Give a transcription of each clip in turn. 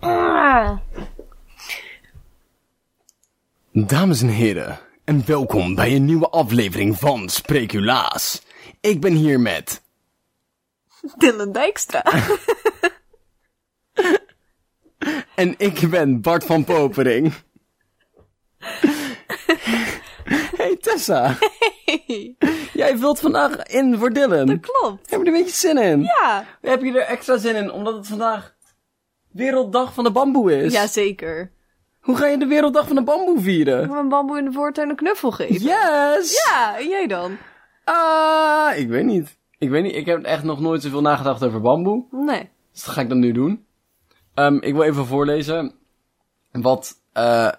Ah. Dames en heren, en welkom bij een nieuwe aflevering van Spreculaas. Ik ben hier met... Dylan Dijkstra. En ik ben Bart van Popering. Hey Tessa, Hey, jij vult vandaag in voor Dylan. klopt. Heb je er een beetje zin in? Ja. Heb je er extra zin in, omdat het vandaag Werelddag van de Bamboe Dus- is? Jazeker. Hoe ga je de Werelddag van de Bamboe Ik vieren? heb een bamboe in de voortuin een knuffel geven. Yes! Ja, en jij dan? Ah, ik weet niet. Ik weet niet, ik heb echt nog nooit zoveel nagedacht over bamboe. Nee. Dus dat ga ik dan nu doen. Ehm, ik wil even voorlezen wat, eh,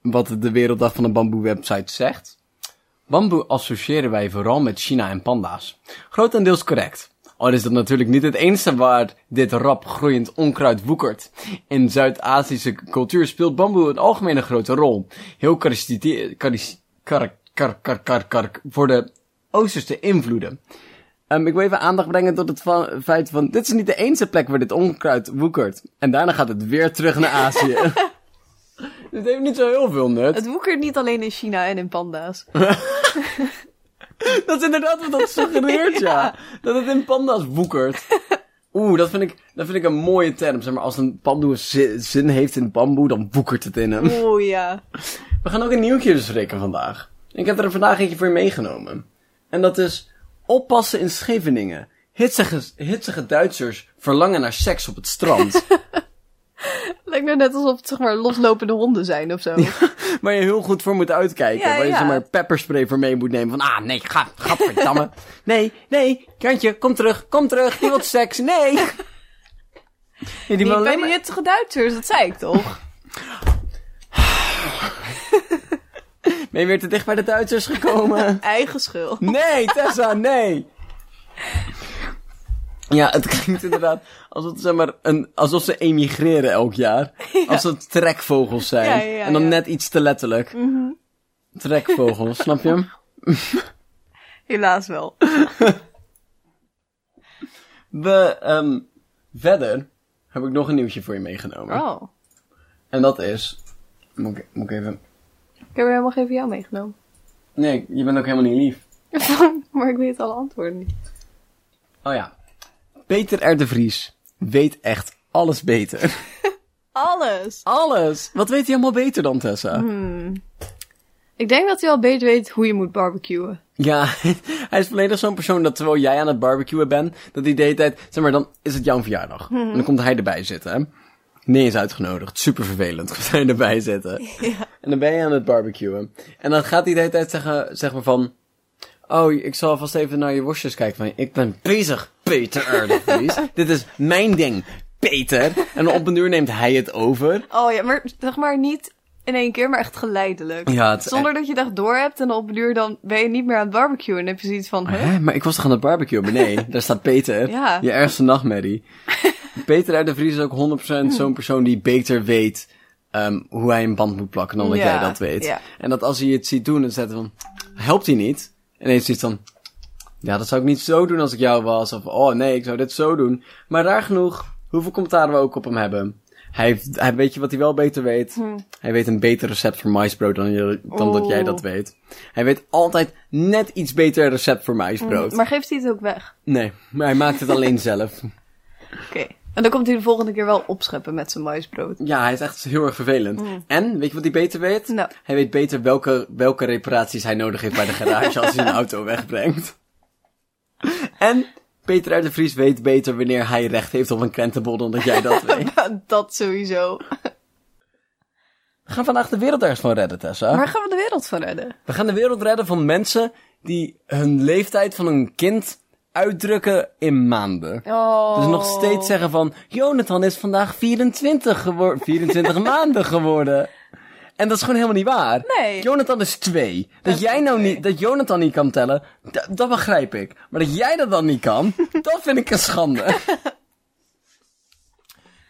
wat de Werelddag van de Bamboe website zegt. Bamboe associëren wij vooral met China en panda's. Grotendeels correct. Al is dat natuurlijk niet het enige waar dit rap groeiend onkruid woekert. In Zuid-Aziëse cultuur speelt bamboe een algemene grote rol. Heel karistie- karis- kar, kar, kar, kar, kar, voor de Oosterse invloeden. Ehm, ik wil even aandacht brengen tot het fa- feit van... Dit is niet de enige plek waar dit onkruid woekert. En daarna gaat het weer terug naar Azië. dit heeft niet zo heel veel nut. Het woekert niet alleen in China en in panda's. Dat is inderdaad wat dat suggereert, ja. Dat het in panda's woekert. Oeh, dat vind, ik, dat vind ik een mooie term. Zeg maar, als een pandoe een zi- zin heeft in bamboe, dan woekert het in hem. Oh ja. We gaan ook een nieuwtje bespreken vandaag. Ik heb er vandaag eentje voor je meegenomen. En dat is oppassen in Scheveningen. Hitsige, hitsige Duitsers verlangen naar seks op het strand. Lijkt nou net alsof het zeg maar loslopende honden zijn of zo. waar je heel goed voor moet uitkijken. Ja, waar je ja. zeg maar pepperspray voor mee moet nemen. Van, ah, nee, ga, gadverdamme. nee, nee, kantje, kom terug, kom terug. Je wilt seks, nee. Ja, die wil Niet bij alleen die maar- nuttige Duitsers, dat zei ik toch? Ben je weer te dicht bij de Duitsers gekomen? Eigen schuld. nee, Tessa, nee. Ja, het klinkt inderdaad alsof, het, zeg maar, een, alsof ze emigreren elk jaar. Als het trekvogels zijn. Ja, ja, ja, en dan ja. net iets te letterlijk. Trekvogels, snap je hem? Helaas wel. We, ehm, verder heb ik nog een nieuwtje voor je meegenomen. Oh. En dat is. Moet ik, moet ik even. Ik heb er helemaal geen van jou meegenomen. Nee, je bent ook helemaal niet lief. maar ik weet alle antwoorden niet. Oh ja. Peter R. de Vries weet echt alles beter. Alles. Alles! Wat weet hij allemaal beter dan Tessa? Ik denk dat hij al beter weet hoe je moet barbecuen. Ja, hij is volledig zo'n persoon dat terwijl jij aan het barbecuen bent, dat hij de hele tijd, zeg maar, dan is het jouw verjaardag. En dan komt hij erbij zitten, hè. Nee, is uitgenodigd. Super vervelend. Komt hij erbij zitten. En dan ben je aan het barbecuen. En dan gaat hij de hele tijd zeggen, zeg maar van, oh, ik zal vast even naar je worstjes kijken. Van, ik ben bezig, Peter R. de Vries. Dit is mijn ding, Peter. En op een uur neemt hij het over. Oh ja, maar zeg maar niet in één keer, maar echt geleidelijk. Ja, het is Zonder dat je het echt door hebt en op een duur dan ben je niet meer aan het barbecuen. En dan heb je zoiets van, huh? Hè, maar ik was toch aan het barbecue? Maar nee, daar staat Peter. Ja. Je ergste nachtmerrie. Peter uit de Vries is ook 100% Hmm. zo'n persoon die beter weet ehm, hoe hij een band moet plakken dan dat Ja, jij dat weet. ja. En dat als hij het ziet doen, dan zegt hij van, helpt hij niet? En heeft hij zoiets van, ja, dat zou ik niet zo doen als ik jou was. Of, oh nee, ik zou dit zo doen. Maar raar genoeg, hoeveel commentaren we ook op hem hebben. Hij, heeft, hij weet je wat hij wel beter weet. Hmm. Hij weet een beter recept voor maisbrood dan, je, dan dat jij Oeh. dat weet. Hij weet altijd net iets beter recept voor maisbrood. Maar geeft hij het ook weg? Nee, maar hij maakt het alleen zelf. Oké. En dan komt hij de volgende keer wel opscheppen met zijn maisbrood. Ja, hij is echt heel erg vervelend. En, weet je wat hij beter weet? Nou. Hij weet beter welke, welke reparaties hij nodig heeft bij de garage als hij een auto wegbrengt. En Peter uit de Vries weet beter wanneer hij recht heeft op een krentenbol dan dat jij dat weet. dat sowieso. We gaan vandaag de wereld ergens van redden, Tessa. Waar gaan we de wereld van redden? We gaan de wereld redden van mensen die hun leeftijd van een kind uitdrukken in maanden. Oh. Dus nog steeds zeggen van, Jonathan is vandaag 24, gewor- 24 maanden geworden. En dat is gewoon helemaal niet waar. Nee. Jonathan is twee. Dat, jij nou niet, dat Jonathan niet kan tellen, d- dat begrijp ik. Maar dat jij dat dan niet kan, dat vind ik een schande.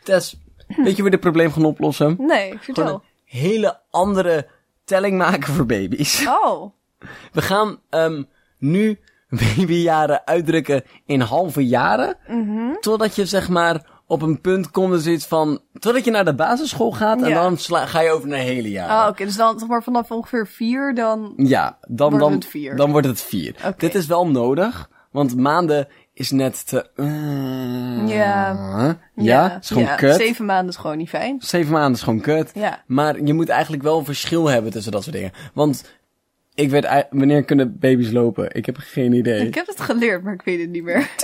Tess, weet je hoe we dit probleem gaan oplossen? Nee, vertel. Gewoon een hele andere telling maken voor baby's. Oh. We gaan ehm Mhm. nu babyjaren uitdrukken in halve jaren. Totdat je zeg maar op een punt komt er zoiets van, totdat je naar de basisschool gaat en Ja. dan sla- ga je over naar hele jaren. Ah, oké. Dus dan zeg maar vanaf ongeveer vier dan... Ja, dan Wordt dan, het vier. dan wordt het vier. Oké. Dit is wel nodig, want maanden is net te... eh, Ja. Ja, is gewoon kut. Zeven... Zeven maanden is gewoon niet fijn. maanden is gewoon kut. Ja. Maar je moet eigenlijk wel een verschil hebben tussen dat soort dingen. Want ik weet, ei- wanneer kunnen baby's lopen? Ik heb geen idee. Ik heb het geleerd, maar ik weet het niet meer.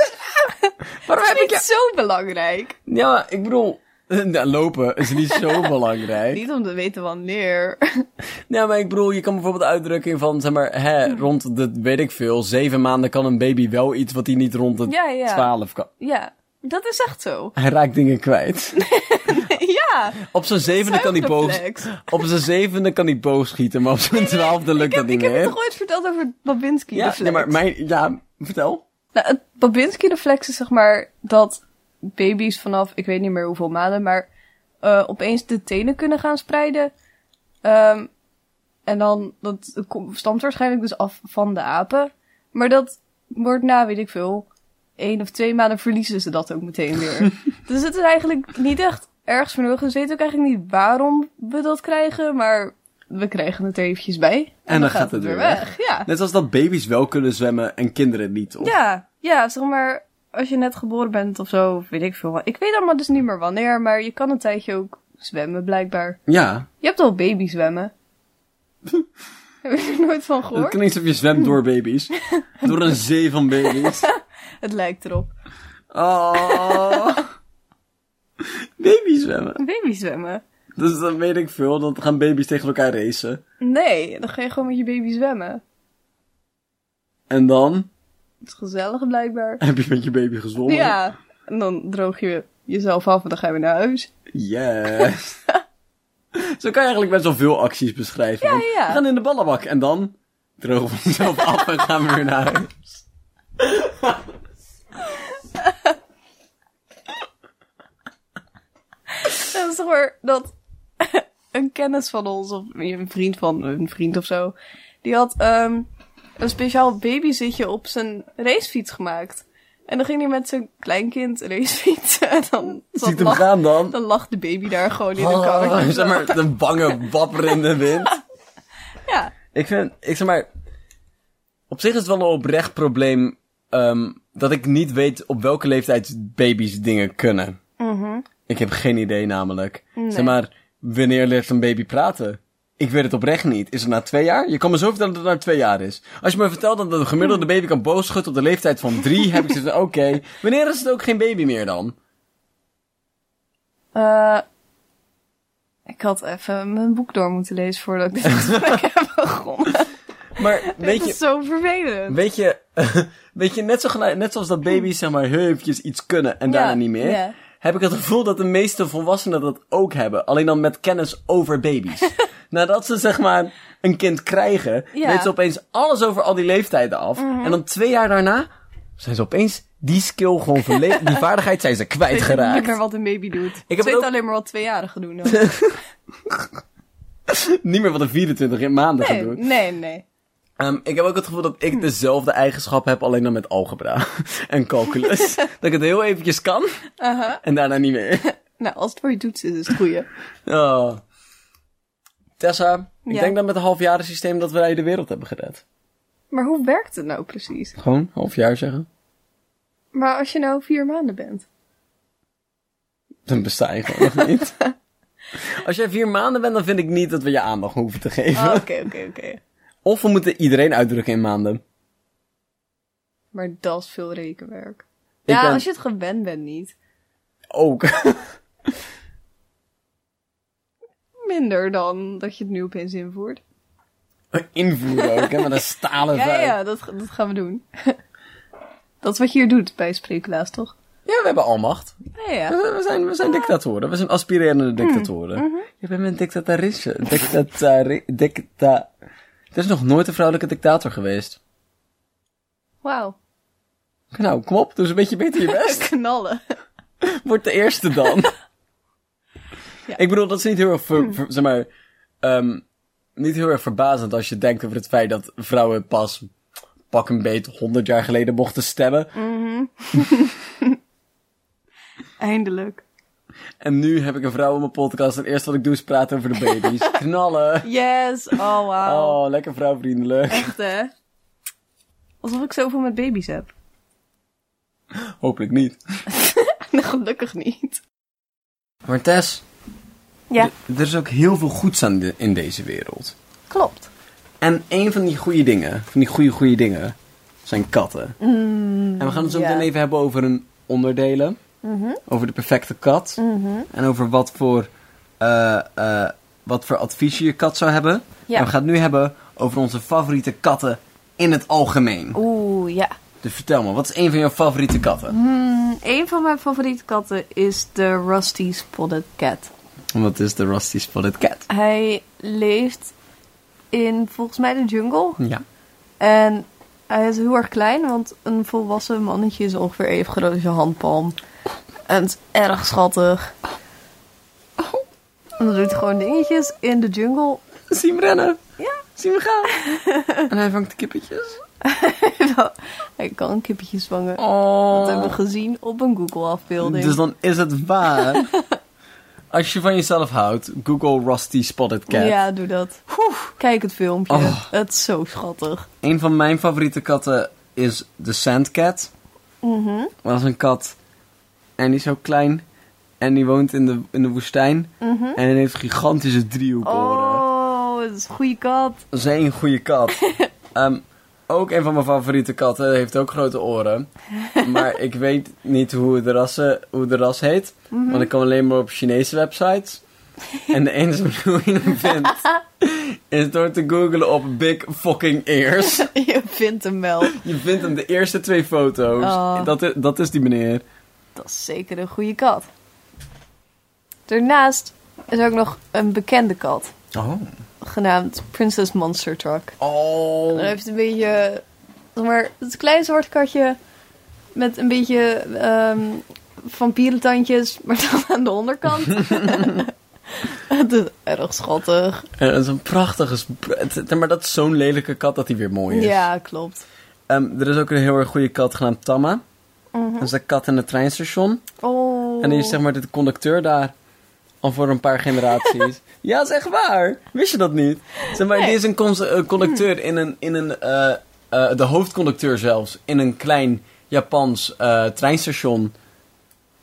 Waarom Dat heb ik vind ik je... zo belangrijk. Ja, maar ik bedoel, nou, lopen is niet zo belangrijk. Niet om te weten wanneer. Ja, maar ik bedoel, je kan bijvoorbeeld uitdrukking van, zeg maar, hè, rond de, weet ik veel, zeven maanden kan een baby wel iets wat hij niet rond de Ja, ja. twaalf kan. ja, dat is echt zo. Hij raakt dingen kwijt. ja, Op zijn zevende kan hij boog, huidreflex. op zijn zevende kan hij boog schieten, maar op zijn twaalfde lukt Ik heb, dat ik niet heb het meer. toch ooit verteld over het babinski Ja, reflex nee, maar mijn, ja, vertel. Nou, het Babinski-reflex is zeg maar dat baby's vanaf, ik weet niet meer hoeveel maanden, maar eh, opeens de tenen kunnen gaan spreiden. Ehm, en dan, dat komt- stamt waarschijnlijk dus af van de apen. Maar dat wordt na, weet ik veel, één of twee maanden verliezen ze dat ook meteen weer. dus het is eigenlijk niet echt ergens voor nodig. Dus we weten ook eigenlijk niet waarom we dat krijgen, maar we krijgen het er eventjes bij. En, dan gaat het weer Ja. Net als dat baby's wel kunnen zwemmen en kinderen niet, toch? Ja, ja, zeg maar, als je net geboren bent of zo, of weet ik veel. wat. Ik weet allemaal dus niet meer wanneer, maar je kan een tijdje ook zwemmen, blijkbaar. Ja. Je hebt al baby zwemmen. Heb je er nooit van Het gehoord? klinkt alsof je zwemt door baby's. door een zee van baby's. Het lijkt erop. Oh. baby zwemmen. Baby zwemmen? Dus dan weet ik veel, dan gaan baby's tegen elkaar racen. Nee, dan ga je gewoon met je baby zwemmen. En dan Het is gezellig, blijkbaar. heb je met je baby gezwommen. Ja, en dan droog je jezelf af en dan ga je weer naar huis. Yes. Zo kan je eigenlijk best wel veel acties beschrijven. want ja, ja. We gaan in de ballenbak en dan drogen we onszelf af en gaan we weer naar huis. Dat is toch maar dat een kennis van ons, of een vriend van een vriend of zo, die had ehm, een speciaal babyzitje op zijn racefiets gemaakt. En dan ging hij met zijn kleinkind racefietsen en dan, Ziet zat hem lag, gaan dan. dan lag de baby daar gewoon in de Oh, kar. zeg maar, de bange wapper in de wind. Ja, Ik vind, ik zeg maar, op zich is het wel een oprecht probleem ehm, dat ik niet weet op welke leeftijd baby's dingen kunnen. Ik heb geen idee namelijk. Zeg maar, wanneer leert een baby praten? Ik weet het oprecht niet. Is het na twee jaar? Je kan me zo vertellen dat het na twee jaar is. Als je me vertelt dat een gemiddelde baby kan booschutten op de leeftijd van drie, heb ik zoiets van, oké. Wanneer is het ook geen baby meer dan? Eh, ik had even mijn boek door moeten lezen voordat ik dit gesprek heb begonnen. Maar weet Dat je, is zo vervelend. Weet je, weet je net, zo gelijk, net zoals dat baby's zeg maar heel eventjes iets kunnen Ja, en daarna niet meer, ja. heb ik het gevoel dat de meeste volwassenen dat ook hebben. Alleen dan met kennis over baby's. Nadat ze zeg maar een kind krijgen, Ja. Mhm. weten ze opeens alles over al die leeftijden af. En dan twee jaar daarna zijn ze opeens die skill gewoon verleden, die vaardigheid zijn ze Ik weet niet kwijtgeraakt. meer wat een baby doet. Ik, het weet ook- alleen maar wat tweejarigen doen. dan. Niet meer wat een 24 maanden gaat Nee, doen. nee, nee. Ehm, ik heb ook het gevoel dat Hm. ik dezelfde eigenschap heb, alleen dan met algebra en calculus. dat ik het heel eventjes kan Uh-huh. en daarna niet meer. Nou, als het voor je toets is, is het goeie. Oh. Tessa, ik Ja. denk dat met het halfjaren systeem dat wij de wereld hebben gered. Maar hoe werkt het nou precies? Gewoon halfjaar zeggen. Maar als je nou vier maanden bent. Dan besta je gewoon nog niet. Als jij vier maanden bent, dan vind ik niet dat we je aandacht hoeven te geven. Ah, Oké, oké, oké. Of we moeten iedereen uitdrukken in maanden. Maar dat is veel rekenwerk. Ik ja, ben- als je het gewend bent niet. Ook. Minder dan dat je het nu opeens invoert. Invoeren ook, hè, met een stalen Ja, vuil. ja, dat, dat gaan we doen. dat is wat je hier doet bij Spreeklaas, toch? ja, we hebben almacht. Ja, ja. Mm. Mhm. We zijn, we zijn, we zijn dictatoren. We zijn aspirerende dictatoren. Je bent een dictatarisse. Dictatari... Dicta... Er is nog nooit een vrouwelijke dictator geweest. Wauw. Nou, kom op. Doe eens een beetje beter je best. Knallen. Word de eerste dan. Ja. Ik bedoel, dat is niet heel erg... ver- ver- zeg maar... ehm, niet heel erg verbazend als je denkt over het feit dat vrouwen pas... pak Mm. een beet 100 jaar geleden mochten stemmen. Eindelijk. En nu heb ik een vrouw op mijn podcast en eerst wat ik doe is praten over de baby's. Knallen. Yes! Oh, wauw. Oh, lekker vrouwvriendelijk. Echt, hè? Alsof ik zoveel met baby's heb. Hopelijk niet. Nou, Gelukkig niet. Maar Tess, Ja, er is ook heel veel goeds aan de- in deze wereld. klopt. En een van die goede dingen, van die goede goede dingen, zijn katten. en we gaan het zo Mm, ja. Mhm. meteen even hebben over hun onderdelen. Over de perfecte kat. En over wat voor, eh, eh, wat voor advies je je kat zou hebben. Ja. En we gaan het nu hebben over onze favoriete katten in het algemeen. Oeh, ja. Dus vertel me, wat is een van jouw favoriete katten? Mhm. Een van mijn favoriete katten is de Rusty Spotted Cat. Wat is de Rusty Spotted Cat? Hij leeft in volgens mij de jungle. Ja. En hij is heel erg klein, want een volwassen mannetje is ongeveer even groot als je handpalm. En het is erg schattig. En dan doet hij gewoon dingetjes in de jungle. Zie hem rennen. Ja. Zie hem gaan. en hij vangt kippetjes. Hij kan een kippetje zwangen. Dat hebben we Oh. gezien op een Google-afbeelding. Dus dan is het waar. Als je van jezelf houdt, Google Rusty Spotted Cat. Ja, doe dat. Kijk het filmpje. Oh. Het is zo schattig. Een van mijn favoriete katten is de Sandcat. Mhm. Dat is een kat. En die is zo klein. En die woont in de, in de woestijn. En die heeft gigantische driehoekoren. Mhm. Oh, het is een goede kat. Zijn goede kat. Ehm, ook een van mijn favoriete katten. Heeft ook grote oren. Maar ik weet niet hoe de, rassen, hoe de ras heet. Mhm. Want ik kan alleen maar op Chinese websites. En de enige manier hoe je hem vindt... is door te googlen op big fucking ears. Je vindt hem wel. Je vindt hem de eerste twee foto's. Oh. Dat, is, dat is die meneer. Dat is zeker een goede kat. Daarnaast is er ook nog een bekende kat. Oh. Genaamd Princess Monster Truck. Oh. Hij heeft een beetje... Zeg maar, het is een klein zwart katje. Met een beetje ehm vampierentandjes. Maar dan aan de onderkant. het is erg schattig. En dat is een prachtige... sp- het- Maar dat is zo'n lelijke kat dat hij weer mooi is. Ja, klopt. Ehm, er is ook een heel erg goede kat genaamd Tamma. Dat is de kat in het treinstation. Oh. En die is zeg maar de conducteur daar. Al voor een paar generaties. ja, dat is echt waar. Wist je dat niet? Zeg maar, die is een cons- eh, conducteur in een... In een eh, eh, de hoofdconducteur zelfs. In een klein Japans eh, treinstation.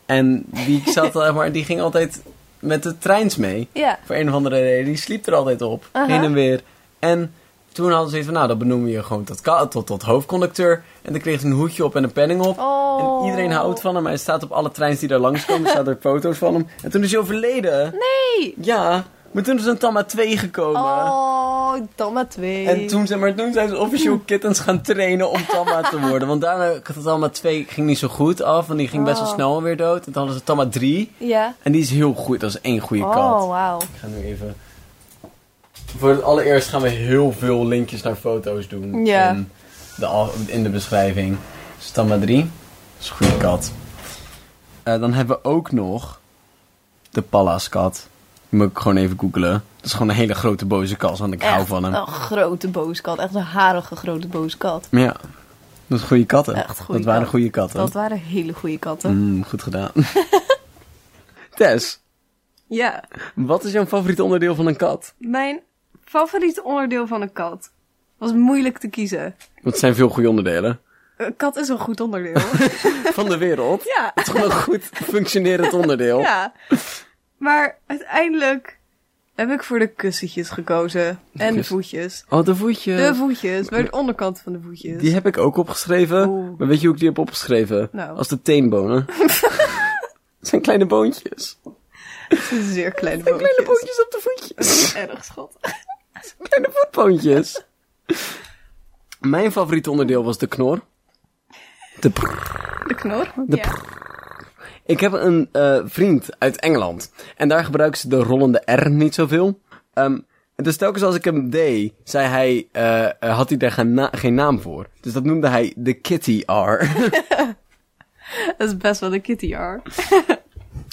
En die, zat, eh, maar, die ging altijd met de treins mee. Ja. Voor een of andere reden. Die sliep er altijd op. Aha. Heen en weer. En toen hadden ze iets van, nou, dan benoemen we je gewoon tot, ka- tot, tot hoofdconducteur. En dan kreeg ze een hoedje op en een penning op. Oh. En iedereen houdt van hem. Hij staat op alle treins die daar langskomen, staan er foto's van hem. En toen is hij overleden. Nee! Ja, maar toen is een Tamma 2 gekomen. Oh, Tamma 2. En toen, zeg maar, toen zijn ze officieel kittens gaan trainen om Tamma te worden. Want daarna, Tamma 2 ging niet zo goed af, want die ging best wel Oh. snel weer dood. En toen hadden ze Tamma 3. Ja. En die is heel goed, dat is één goede kat. Oh, wauw. Ik ga nu even... Voor het allereerst gaan we heel veel linkjes naar foto's doen. Ja. In de, al- in de beschrijving. Stamma 3. Dat is een goede kat. Eh, dan hebben we ook nog... De Pallaskat. Die moet ik gewoon even googelen. Dat is gewoon een hele grote boze kat, want ik hou Echt Oh. van hem. Een grote boze kat. Echt een harige grote boze kat. Maar Ja. Dat is goede katten. Echt goede Dat waren kat. goede katten. Dat waren hele goede katten. Mm, goed gedaan. Tess, Ja. wat is jouw favoriete onderdeel van een kat? Mijn favoriete onderdeel van een kat was moeilijk te kiezen. Want het zijn veel goede onderdelen. Een kat is een goed onderdeel. Van de wereld. ja. Het is gewoon een goed functionerend onderdeel. Ja. Maar uiteindelijk heb ik voor de kussentjes gekozen. En de kussen. voetjes. Oh, de voetje. De voetjes, maar de onderkant van de voetjes. die heb ik ook opgeschreven. Oeh. Maar weet je hoe ik die heb opgeschreven? Nou. Als de teenbonen. Het zijn kleine boontjes. Dat zijn zeer kleine Kleine bootjes. boontjes op de voetjes. Erg schattig. kleine voetboontjes. Mijn favoriete onderdeel was de knor. De prrr. De knor. ja. Ik heb een eh, vriend uit Engeland. En daar gebruiken ze de rollende R niet zoveel. Ehm, en dus telkens als ik hem deed, zei hij, eh, eh, had hij daar geen, na- geen naam voor. Dus dat noemde hij de Kitty R. Dat is best wel de kitty R.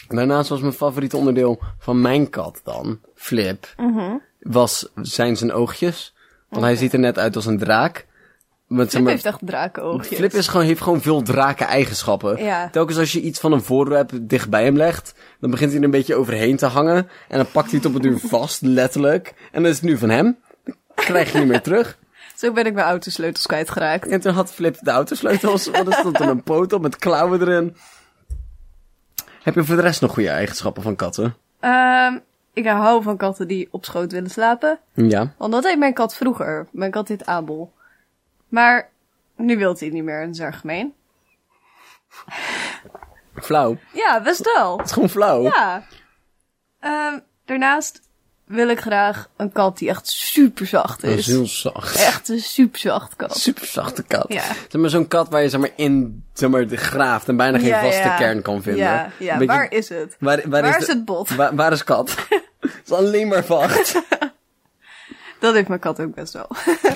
Daarnaast was mijn favoriete onderdeel van mijn kat dan, Flip, was zijn zijn oogjes. Want hij ziet er net uit als een draak. Want, zeg Flip maar, heeft echt drakenoogjes. Flip is gewoon, heeft gewoon veel draken eigenschappen. Ja. Telkens als je iets van een voorwerp dichtbij hem legt, dan begint hij er een beetje overheen te hangen. En dan pakt hij het op het duur vast, letterlijk. En dan is het nu van hem. Dan krijg je niet meer terug. Zo ben ik mijn autosleutels kwijtgeraakt. En toen had Flip de autosleutels. Want er stond dan een poot op met klauwen erin. Heb je voor de rest nog goede eigenschappen van katten? Ehm, ik hou van katten die op schoot willen slapen. Ja. Want dat deed mijn kat vroeger. Mijn kat heet Abel. Maar nu wil hij het niet meer en dat is erg gemeen. Flauw. Het Ja, best wel. is gewoon flauw. Ja. Ehm, daarnaast wil ik graag een kat die echt super zacht Dat is. is heel zacht. Echt een super zacht kat. Super zachte kat. Ja. Zeg maar zo'n kat waar je zeg maar in zeg maar, de graaft en bijna geen Ja, vaste ja. kern kan vinden. Ja, ja. Een beetje- waar is het? Waar, waar, Waar is, is de- het bot? Waar, waar is kat? Het is alleen maar vacht. Dat heeft mijn kat ook best wel.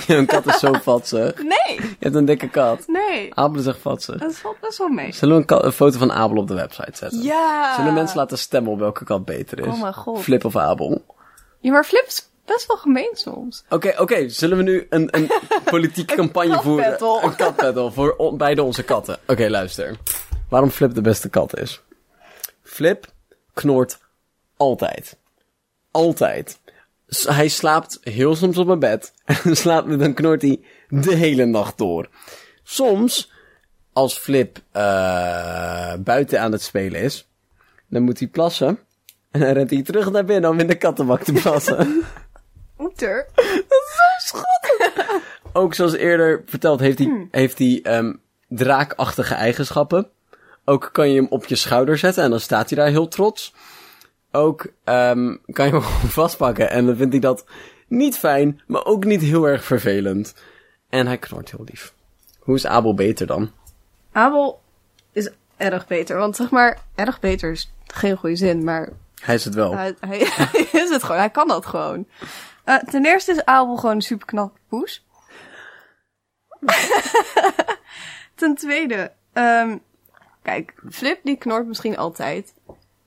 Een kat is zo vatzig. Nee, Je hebt een dikke kat. nee. Abel is echt vatzig. Dat valt best wel mee. Zullen we een, ka- een foto van Abel op de website zetten? Ja. Zullen mensen laten stemmen op welke kat beter is? Oh mijn god. Flip of Abel? Oké, Ja, maar Flip is best wel gemeen soms. oké. Zullen we nu een, een politieke campagne katbattle. voeren? Een katbattle voor on- beide onze katten. Oké, luister. Waarom Flip de beste kat is? Flip knoort altijd. Altijd. S- Hij slaapt heel soms op mijn bed. En slaapt, dan knort hij de hele nacht door. Soms, als Flip eh, buiten aan het spelen is, dan moet hij plassen. En dan rent hij terug naar binnen om in de kattenbak te plassen. Oeter. Ook zoals eerder verteld, heeft hij, heeft hij ehm, draakachtige eigenschappen. Ook kan je hem op je schouder zetten en dan staat hij daar heel trots. Ook ehm, kan je hem gewoon vastpakken en dan vindt hij dat niet fijn, maar ook niet heel erg vervelend. En hij knort heel lief. Hoe is Abel beter dan? Abel is erg beter. Want zeg maar, erg beter is geen goede zin, maar Hij is het wel. hij, hij is het gewoon. Hij kan dat gewoon. Eh, ten eerste is Abel gewoon een super knappe poes. ten tweede, ehm, kijk, Flip die knort misschien altijd.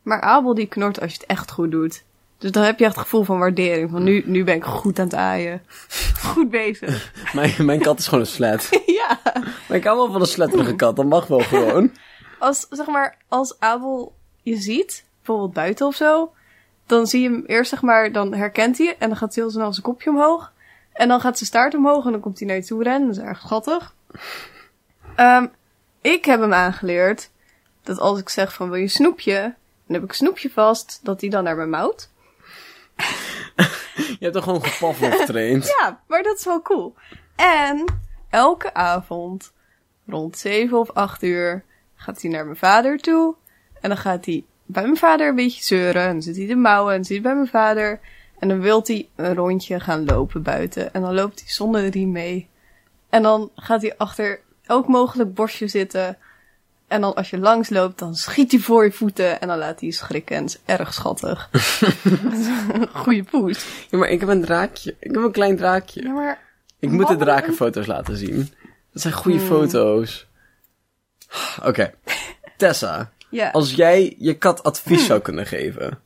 Maar Abel die knort als je het echt goed doet. Dus dan heb je echt het gevoel van waardering. Van nu, nu ben ik goed aan het aaien. Goed bezig. Mijn, mijn kat is gewoon een slet. ja. Maar ik hou wel van een sletterige kat, dat mag wel gewoon. als, zeg maar, als Abel je ziet, bijvoorbeeld buiten of zo, dan zie je hem eerst, zeg maar, dan herkent hij je en dan gaat hij heel snel zijn kopje omhoog. En dan gaat zijn staart omhoog en dan komt hij naar je toe rennen. Dat is erg schattig. Ehm, ik heb hem aangeleerd dat als ik zeg van wil je snoepje, dan heb ik een snoepje vast, dat hij dan naar me mouwt. Je hebt er gewoon gepavlov getraind. Ja, maar dat is wel cool. En elke avond rond 7 of 8 uur gaat hij naar mijn vader toe. En dan gaat hij bij mijn vader een beetje zeuren. En dan zit hij te mouwen en dan zit hij bij mijn vader. En dan wil hij een rondje gaan lopen buiten. En dan loopt hij zonder riem mee. En dan gaat hij achter elk mogelijk bosje zitten. En dan als je langs loopt, dan schiet hij voor je voeten. En dan laat hij je schrikken. En dat is erg schattig. Goeie poes. Ja, maar ik heb een draakje. Ik heb een klein draakje. Ja, maar Ik moet de Wat drakenfoto's laten zien. Dat zijn goede foto's. Ah, Oké. Tessa, ja. als jij je kat advies zou kunnen geven,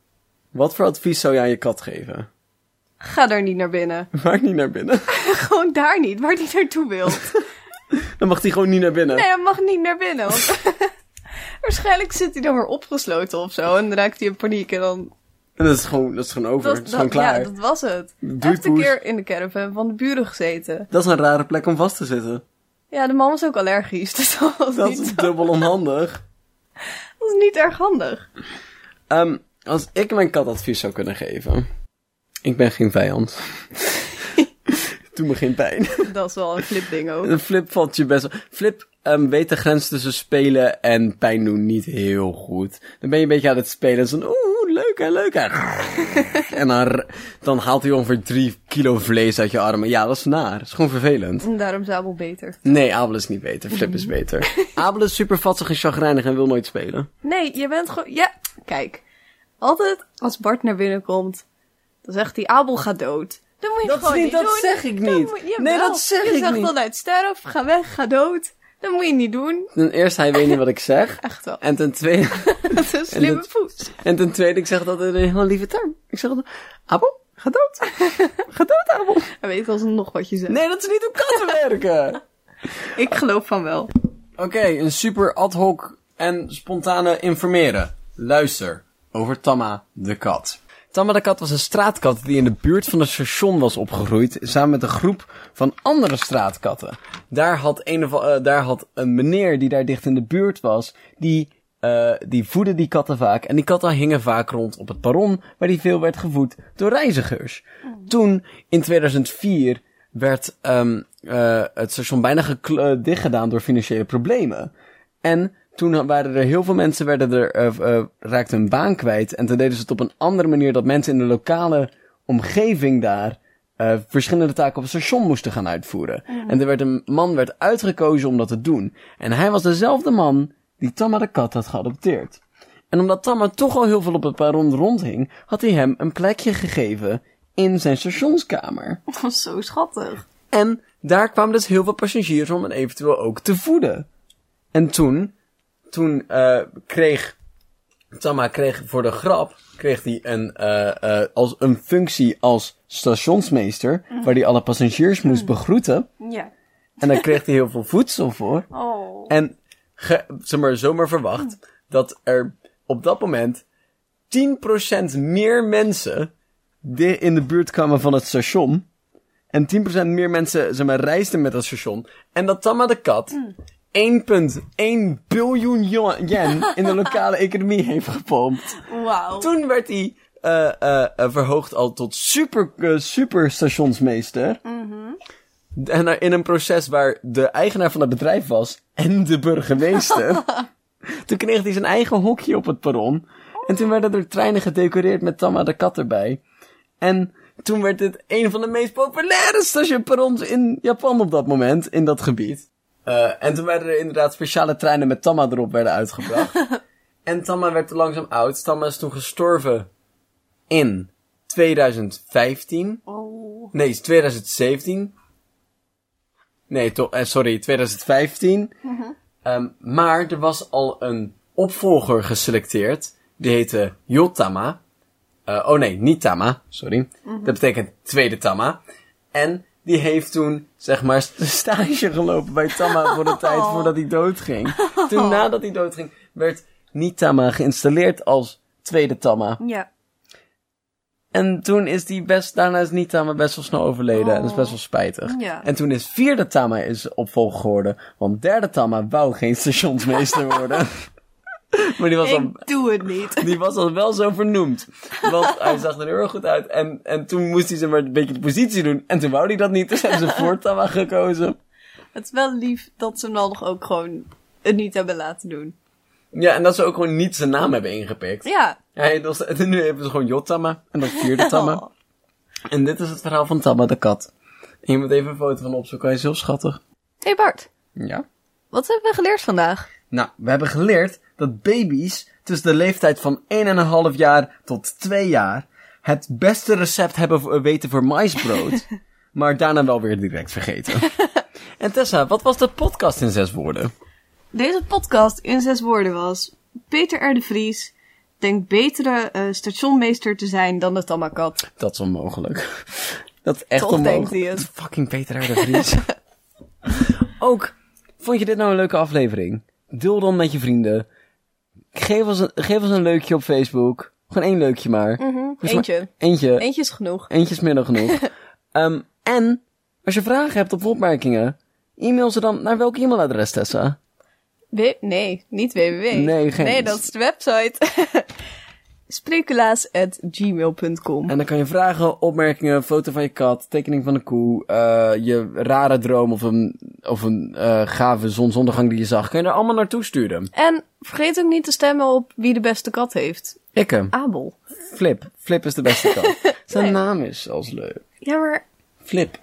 wat voor advies zou jij aan je kat geven? Ga daar niet naar binnen. Maak niet naar binnen. Gewoon daar niet, waar die naartoe wil. Dan mag hij gewoon niet naar binnen. Nee, hij mag niet naar binnen. want- Waarschijnlijk zit hij dan weer opgesloten of zo. En dan raakt hij in paniek en dan... En dat is gewoon, dat is gewoon over. Dat, is gewoon klaar. Ja, dat was het. Hij Doei, heeft een poes. keer in de caravan van de buren gezeten. dat is een rare plek om vast te zitten. Ja, de man was ook allergisch. Dus dat was, Dat niet, is dubbel onhandig. dat was niet erg handig. Ehm, als ik mijn kat advies zou kunnen geven. Ik ben geen vijand. Doe me geen pijn. Dat is wel een flipding ook. Een Flip valt je best wel. Flip ehm, weet de grens tussen spelen en pijn doen niet heel goed. Dan ben je een beetje aan het spelen. en Zo'n oeh, leuk hè, leuk hè. en dan, r- dan haalt hij ongeveer drie kilo vlees uit je armen. Ja, dat is naar. Dat is gewoon vervelend. En daarom is Abel beter. Nee, Abel is niet beter. Flip is beter. Abel is super vatsig en chagrijnig en wil nooit spelen. Nee, je bent gewoon... Ja, kijk. Altijd als Bart naar binnen komt, dan zegt hij Abel gaat dood. Dan moet je Dat is gewoon niet- niet dat doen. zeg ik Dan niet. moet- jawel. Nee, dat zeg je ik zegt niet. dan uit sterf, ga weg, ga dood. Dat moet je niet doen. Ten eerste, hij weet niet wat ik zeg. Echt wel. En ten tweede, Dat is een slimme dat- poes. en ten tweede ik zeg dat in een heel lieve term. Ik zeg, altijd, Abel, ga dood. ga dood, Abel. Hij weet alsnog nog wat je zegt. Nee, dat is niet hoe katten werken. Ik geloof van wel. Oké, een super ad hoc en spontane informeren. Luister over Tamma de kat. Tamma de kat was een straatkat die in de buurt van het station was opgegroeid, samen met een groep van andere straatkatten. Daar had een, of, eh, daar had een meneer die daar dicht in de buurt was, die, eh, die voedde die katten vaak. En die katten hingen vaak rond op het perron, waar die veel werd gevoed door reizigers. Toen, in 2004, werd ehm eh, het station bijna gekl- eh, dichtgedaan door financiële problemen. En toen waren er heel veel mensen werden er, eh, eh, raakten hun baan kwijt. En toen deden ze het op een andere manier dat mensen in de lokale omgeving daar eh, verschillende taken op het station moesten gaan uitvoeren. En er werd een man werd uitgekozen om dat te doen. En hij was dezelfde man die Tamma de kat had geadopteerd. En omdat Tamma toch al heel veel op het perron rondhing, had hij hem een plekje gegeven in zijn stationskamer. Zo schattig. En daar kwamen dus heel veel passagiers om en eventueel ook te voeden. En toen, toen eh, kreeg Tama kreeg voor de grap kreeg hij een, eh, eh, als een functie als stationsmeester, waar hij alle passagiers moest begroeten. Ja. En daar kreeg hij heel veel voedsel voor. Oh. En ge, zeg maar, zomaar verwacht dat er op dat moment 10% meer mensen di- in de buurt kwamen van het station. En 10% meer mensen zeg maar, reisden met het station. En dat Tamma de Kat 1,1 biljoen yuan- yen in de lokale economie heeft gepompt. Wauw. Nou, Toen werd hij eh, eh, eh, verhoogd al tot super, eh, super stationsmeester. En er- in een proces waar de eigenaar van het bedrijf was en de burgemeester. toen kreeg hij zijn eigen hokje op het perron. En toen werden er treinen gedecoreerd met Tamma de kat erbij. En toen werd dit een van de meest populaire stationperrons in Japan op dat moment, in dat gebied. Eh, en toen werden er inderdaad speciale treinen met Tamma erop werden uitgebracht. En Tamma werd langzaam oud. Tamma is toen gestorven in 2015. Oh. Nee, is 2017. Nee, to- eh, sorry, 2015. Ehm, maar er was al een opvolger geselecteerd. Die heette Yotama. Eh, oh nee, niet Tama, sorry. Mhm. Dat betekent tweede Tama. En die heeft toen, zeg maar, st- stage gelopen bij Tama voor de tijd Oh. voordat hij doodging. Toen nadat hij doodging, werd Niet-Tama geïnstalleerd als tweede Tama. Ja. En toen is die best, daarna is niet Tama best wel snel overleden. En dat is best wel spijtig. Oh. Ja. En toen is vierde Tama is opvolger geworden. Want derde Tama wou geen stationsmeester worden. maar die was, al, Ik doe het niet. die was al wel zo vernoemd. Want hij zag er heel erg goed uit. En, en toen moest hij ze maar een beetje de positie doen. En toen wou hij dat niet. Dus hebben ze voor Tama gekozen. Het is wel lief dat ze hem dan nog ook gewoon het niet hebben laten doen. Ja, en dat ze ook gewoon niet zijn naam hebben ingepikt. Ja. Hij, dat was- nu hebben ze gewoon Jotama. En dan vierde Tama. Oh. En dit is het verhaal van Tama de kat. En je moet even een foto van opzoeken. Hij is heel schattig. Hey Bart, Ja. wat hebben we geleerd vandaag? Nou, we hebben geleerd dat baby's tussen de leeftijd van 1,5 jaar tot 2 jaar het beste recept hebben voor, weten voor maisbrood, maar daarna wel weer direct vergeten. en Tessa, wat was de podcast in zes woorden? Deze podcast in zes woorden was... Peter R. de Vries denkt betere eh, stationmeester te zijn dan de Tamakat. Dat is onmogelijk. Dat is echt Toch onmogelijk. denkt hij het. Fucking Peter R. de Vries. Ook, vond je dit nou een leuke aflevering? Deel dan met je vrienden. Geef ons een, geef ons een leukje op Facebook. Gewoon één leukje maar. Dus maar- Mhm, Eentje. Eentje. Eentje is genoeg. Eentje is meer dan genoeg. Ehm, en als je vragen hebt of opmerkingen, e-mail ze dan naar welk e-mailadres, Tessa? W- nee, niet www. Nee, geen- Nee, dat is de website. Sprekulaas.gmail.com En dan kan je vragen, opmerkingen, foto van je kat, tekening van de koe, eh, je rare droom of een, of een eh, gave zonsondergang die je zag, kan je er allemaal naartoe sturen. En vergeet ook niet te stemmen op wie de beste kat heeft. Ikke, Abel. Flip. Flip is de beste kat. Zijn naam is als leuk. Ja, maar Flip.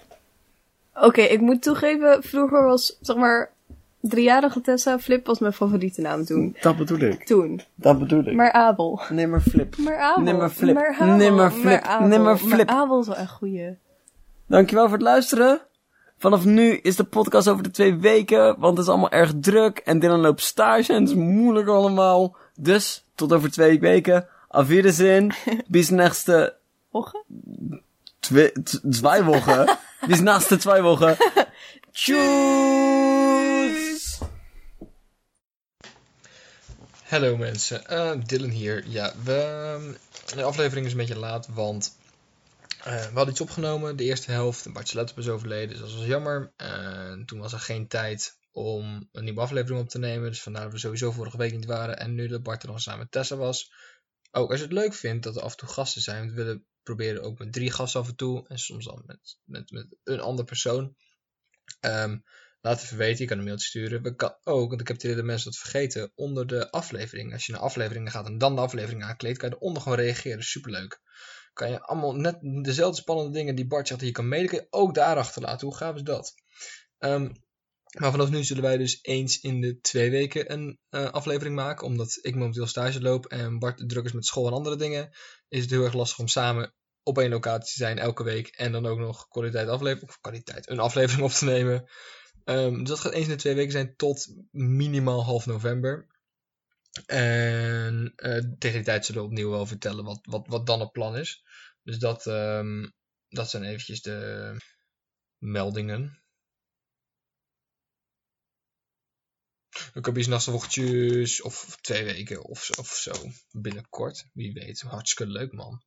Oké, ik moet toegeven, vroeger was, zeg maar, driejarige Tessa Flip was mijn favoriete naam toen. Dat bedoel ik. Toen. Dat bedoel ik. Maar Abel. Nimmer Flip. Maar Abel. Nimmer Flip. Maar Abel. Nimmer Flip. Maar Abel. Nimmer Flip. Maar Abel is wel echt goeie. Dankjewel voor het luisteren. Vanaf nu is de podcast over de twee weken, want het is allemaal erg druk en Dylan loopt stage en het is moeilijk allemaal. Dus tot over twee weken. Auf Wiedersehen. Bis nächste Ogen? twi- t- zwei Wochen. Bis nächste zwei Wochen. Tschüss. Hallo mensen, Eh Dylan hier. Ja, we, ehm, de aflevering is een beetje laat, want eh, we hadden iets opgenomen. De eerste helft, Bartje Letterp is overleden, dus dat was jammer. En toen was er geen tijd om een nieuwe aflevering op te nemen. Dus vandaar dat we sowieso vorige week niet waren. En nu dat Bart er nog samen met Tessa was. Ook als je het leuk vindt dat er af en toe gasten zijn. Want we willen proberen ook met drie gasten af en toe. En soms dan met, met, met een andere persoon. Ehm, Laat even weten, je kan een mailtje sturen. We kan ook, want ik heb het idee dat mensen dat vergeten, onder de aflevering. Als je naar afleveringen gaat en dan de aflevering aankleedt, kan je eronder gewoon reageren. Superleuk. Kan je allemaal net dezelfde spannende dingen die Bart zegt die je kan mailen, kan je ook daarachter laten. Hoe gaaf is dat? Ehm, maar vanaf nu zullen wij dus eens in de twee weken een eh, aflevering maken. Omdat ik momenteel stage loop en Bart druk is met school en andere dingen. Is het heel erg lastig om samen op één locatie te zijn elke week. En dan ook nog kwaliteit aflevering, of kwaliteit, een aflevering op te nemen. Ehm, dus dat gaat eens in de twee weken zijn tot minimaal half november. En eh, tegen die tijd zullen we opnieuw wel vertellen wat, wat, wat dan het plan is. Dus dat, ehm, dat zijn eventjes de meldingen. Ik heb iets naast of twee weken of, of zo. Binnenkort, wie weet. Hartstikke leuk man.